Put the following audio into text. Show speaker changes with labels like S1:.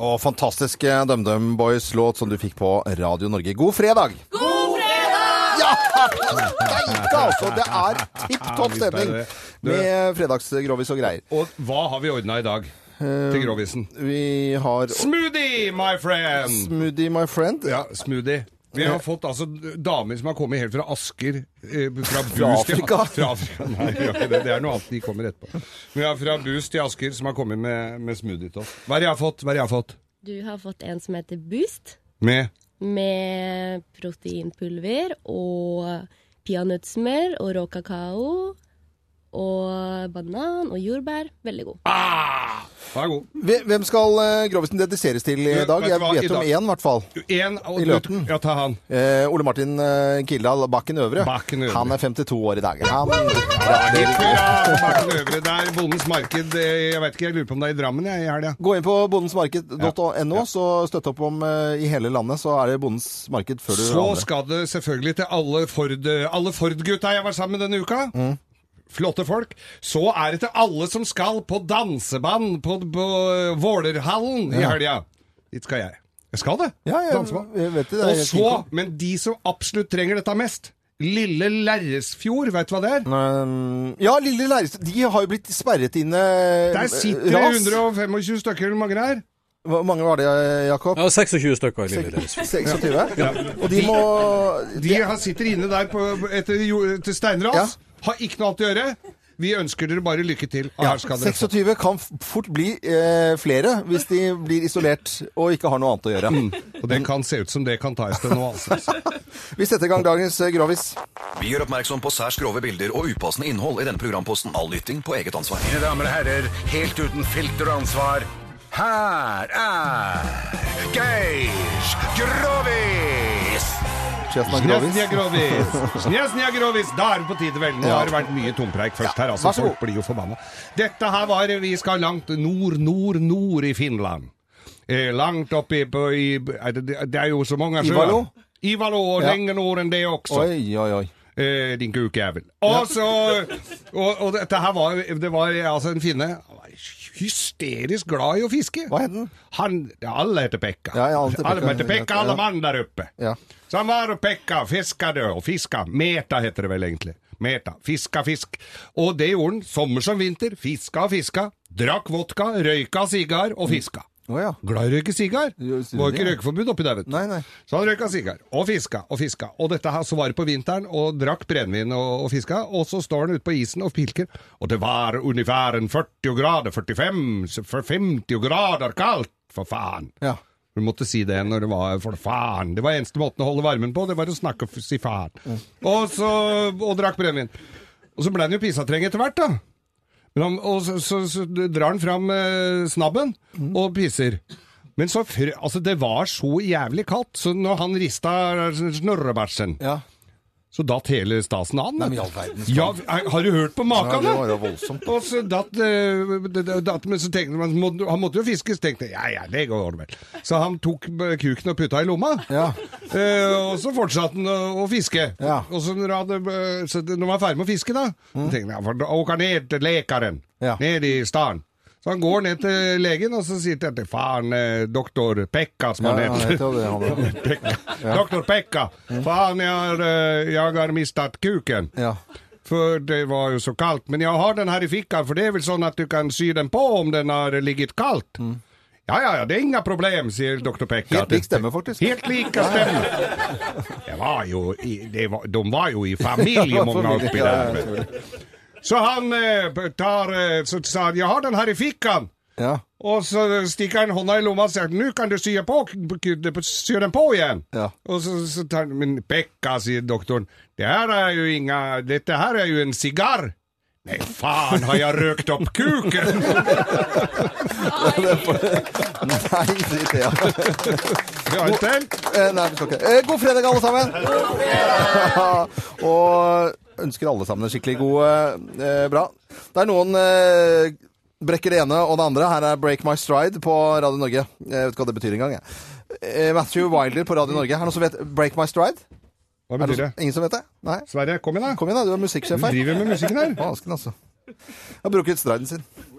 S1: Og fantastisk eh, DumDum Boys-låt som du fikk på Radio Norge. God fredag! God fredag! Ja! Steike, altså! Det er tipp topp stemning med fredagsgrovis og greier.
S2: Og hva har vi ordna i dag
S1: Eh,
S2: til grovisen?
S1: Vi har
S2: Smoothie, my friend!
S1: Smoothie, my friend.
S2: Sånn. Ja, smoothie. Vi
S1: Eh.
S2: har fått altså damer som har kommet helt fra Asker eh, Fra Bus
S1: Afrika?
S2: Til, fra Afrika. Nei, vi har ikke det. det er noe annet de kommer etterpå. Men vi har fra Bus til Asker som har kommet med, med smoothie til oss. Hva er det jeg har fått? Hva er det jeg har fått?
S3: Du har fått en som heter Boost,
S2: Med
S3: med proteinpulver og peanøttsmør og rå kakao. Og banan og jordbær. Veldig god.
S2: Vær god.
S1: Hve- Hvem skal eh, grovisen dediseres til i
S2: Du,
S1: dag?
S2: vet du
S1: Jeg
S2: hva, i
S1: vet om
S2: dag-
S1: én, i hvert fall.
S2: En, og,
S1: I løten.
S2: Ja, ta han.
S1: Eh, Ole Martin eh, Kildahl Bakken Øvre.
S2: Bakken Øvre.
S1: Han er 52 år i dag. Han
S2: Ja, Martin Øvre der, Bondens Marked. eh, Jeg vet ikke, jeg lurer på om det er i Drammen jeg, i helga.
S1: Gå inn på bondensmarked.no, så støtt opp om eh, i hele landet, så er det Bondens marked før du
S2: Så skal det selvfølgelig til alle Ford, alle Ford-gutta jeg var sammen med denne uka.
S1: Mm.
S2: Flotte folk. Så er det til alle som skal på danseband på, på Vålerhallen i helga. Dit skal jeg. Jeg skal det.
S1: Ja, jeg,
S2: danseband.
S1: jeg vet det. det er
S2: Og
S1: helt
S2: så,
S1: fint.
S2: men de som absolutt trenger dette mest, Lille Lerresfjord, vet du hva det er?
S1: Um, Ja, Lille Lærestad De har jo blitt sperret inne eh,
S2: Der sitter det 125 stykker, eller hvor mange det er?
S1: Hvor mange var det, Jakob?
S4: Ja, 26 stykker i livet deres.
S1: 26? Og de må
S2: De har- sitter inne der på, etter, jo- etter steinras.
S1: Ja.
S2: Har ikke noe annet å gjøre. Vi ønsker dere bare lykke til. Og
S1: ja,
S2: her skal dere få.
S1: 26 kan f- fort bli eh, flere hvis de blir isolert og ikke har noe annet å gjøre.
S2: Og det kan se ut som det kan tas til nå, altså.
S1: Vi setter i gang dagens eh, Grovis.
S5: Vi gjør oppmerksom på særs grove bilder og upassende innhold i denne programposten. All lytting på eget ansvar.
S6: Mine damer og herrer, helt uten filter og ansvar, her er Geir Grovis!
S1: Chesten av Grovis.
S2: Snjesnia grovis! Snjesnia grovis! Da er det på tide, vel. Nå har det vært mye tompreik først her, altså.
S1: vær så god.
S2: Folk blir jo forbanna. Dette her var Vi skal langt nord, nord, nord i Finland. Eh, langt oppi på i, er det, det er jo så mange sjøer.
S1: Ivalo?
S2: Ivalo, og
S1: Ja.
S2: lenger nord enn det også.
S1: Oi, oi, oi.
S2: Eh, din kukjævel. Og så og, og dette her var Det var altså en finne Han var hysterisk glad i å fiske.
S1: Hva heter den?
S2: Han ja, Alle heter Pekka.
S1: Mm. Ja, ja, alle heter Pekka.
S2: alle heter Pekka,
S1: Ja.
S2: alle mann der oppe.
S1: Ja.
S2: Så han var og pekka, fiska det, og fiska. Meta heter det vel egentlig. Meta. Fiska fisk. Og det gjorde han, sommer som vinter. Fiska og fiska. Drakk vodka, røyka sigar og fiska.
S1: Å ja.
S2: Glad i å røyke sigar.
S1: Jo, sier
S2: Var
S1: du
S2: ikke
S1: det?
S2: røykeforbud oppi der, vet du.
S1: Nei, nei.
S2: Så han røyka sigar, og fiska, og fiska. Og dette her, så var det på vinteren, og drakk brennevin og, og fiska, og så står han ute på isen og pilker, og det var ungefær en 40 grader, 45, så for 50 grader kaldt, for faen.
S1: Ja.
S2: Du måtte si det når det var for faen. Det var eneste måten å holde varmen på, det var å snakke og f- si faen. Og så, og drakk brennevin. Og så ble han jo pisatreng etter hvert, da. Men han, og så, så, så drar han fram eh, snabben
S1: Mm.
S2: og pisser. Men så, fr- altså det var så jævlig kaldt, så når han rista eh, snorrebæsjen,
S1: ja.
S2: så datt hele stasen an.
S1: men i all verdens
S2: ja, eh, har du hørt på
S1: Ja,
S2: maken,
S1: det
S2: da?
S1: var jo voldsomt.
S2: Og så datt, eh, det- det- datt Men så tenkte man, må- han måtte jo fiske, så tenkte jeg, ja, ja, det går vel. Så han tok eh, kuken og putta i lomma.
S1: Ja.
S2: Eh, og så fortsatte han å, å fiske.
S1: Ja. Mm.
S2: Og så når, han, eh, så når han var ferdig med å fiske, da, så tenkte han, ja, for da åker han ned til lekaren.
S1: Ja.
S2: Ned i staden. Så han går ned til legen, og så sier han til faen, eh, doktor Pekka, som
S1: Ja,
S2: han
S1: ja, Mm. han
S2: heter.
S1: heter jo det, han da.
S2: Pekka. Doktor Pekka, faen, jeg har, eh, jeg har mistet kuken.
S1: Ja.
S2: For det var jo så kaldt. Men jeg har den her i fikka, for det er vel sånn at du kan sy den på om den har ligget kaldt. Ja, ja, ja, det er inga problem, sier doktor Pekka.
S1: Mm. Helt lik stemme, faktisk.
S2: Helt like stemme. Det var jo i, det var, de var jo i familie,
S1: Ja,
S2: mange
S1: familie,
S2: oppi
S1: ja, ja,
S2: der. vet du. Så han eh, tar eh, Så sa han 'jeg har den her i fikkan'.
S1: Ja.
S2: Og så stikker han hånda i lomma og sier 'nå kan du sy den på, sy den på igjen'.
S1: Ja.
S2: Og så, så tar han 'men Pekka', sier doktoren, det her er jo inga, 'dette her er jo en sigar'. Nei, faen, har jeg røkt opp kuken?
S1: Nei, drit i det.
S2: Ja, en til.
S1: Eh, Nei, vi skal ikke. Eh, God fredag, alle sammen! og ønsker alle sammen en skikkelig god eh, bra. Det er noen eh, brekker det ene og det andre. Her er Break My Stride på Radio Norge. Jeg vet ikke hva det betyr engang. jeg. Eh, Matthew Wilder på Radio Norge. Er det noen som vet Break My Stride?
S2: Hva
S1: Er det
S2: betyr det?
S1: noen, ingen som vet det? Nei?
S2: Sverre, kom igjen, da.
S1: Kom igjen, da. Du er
S2: Du
S1: musikksjef her.
S2: driver med musikken her.
S1: Vansken, altså. Jeg har brukt striden sin.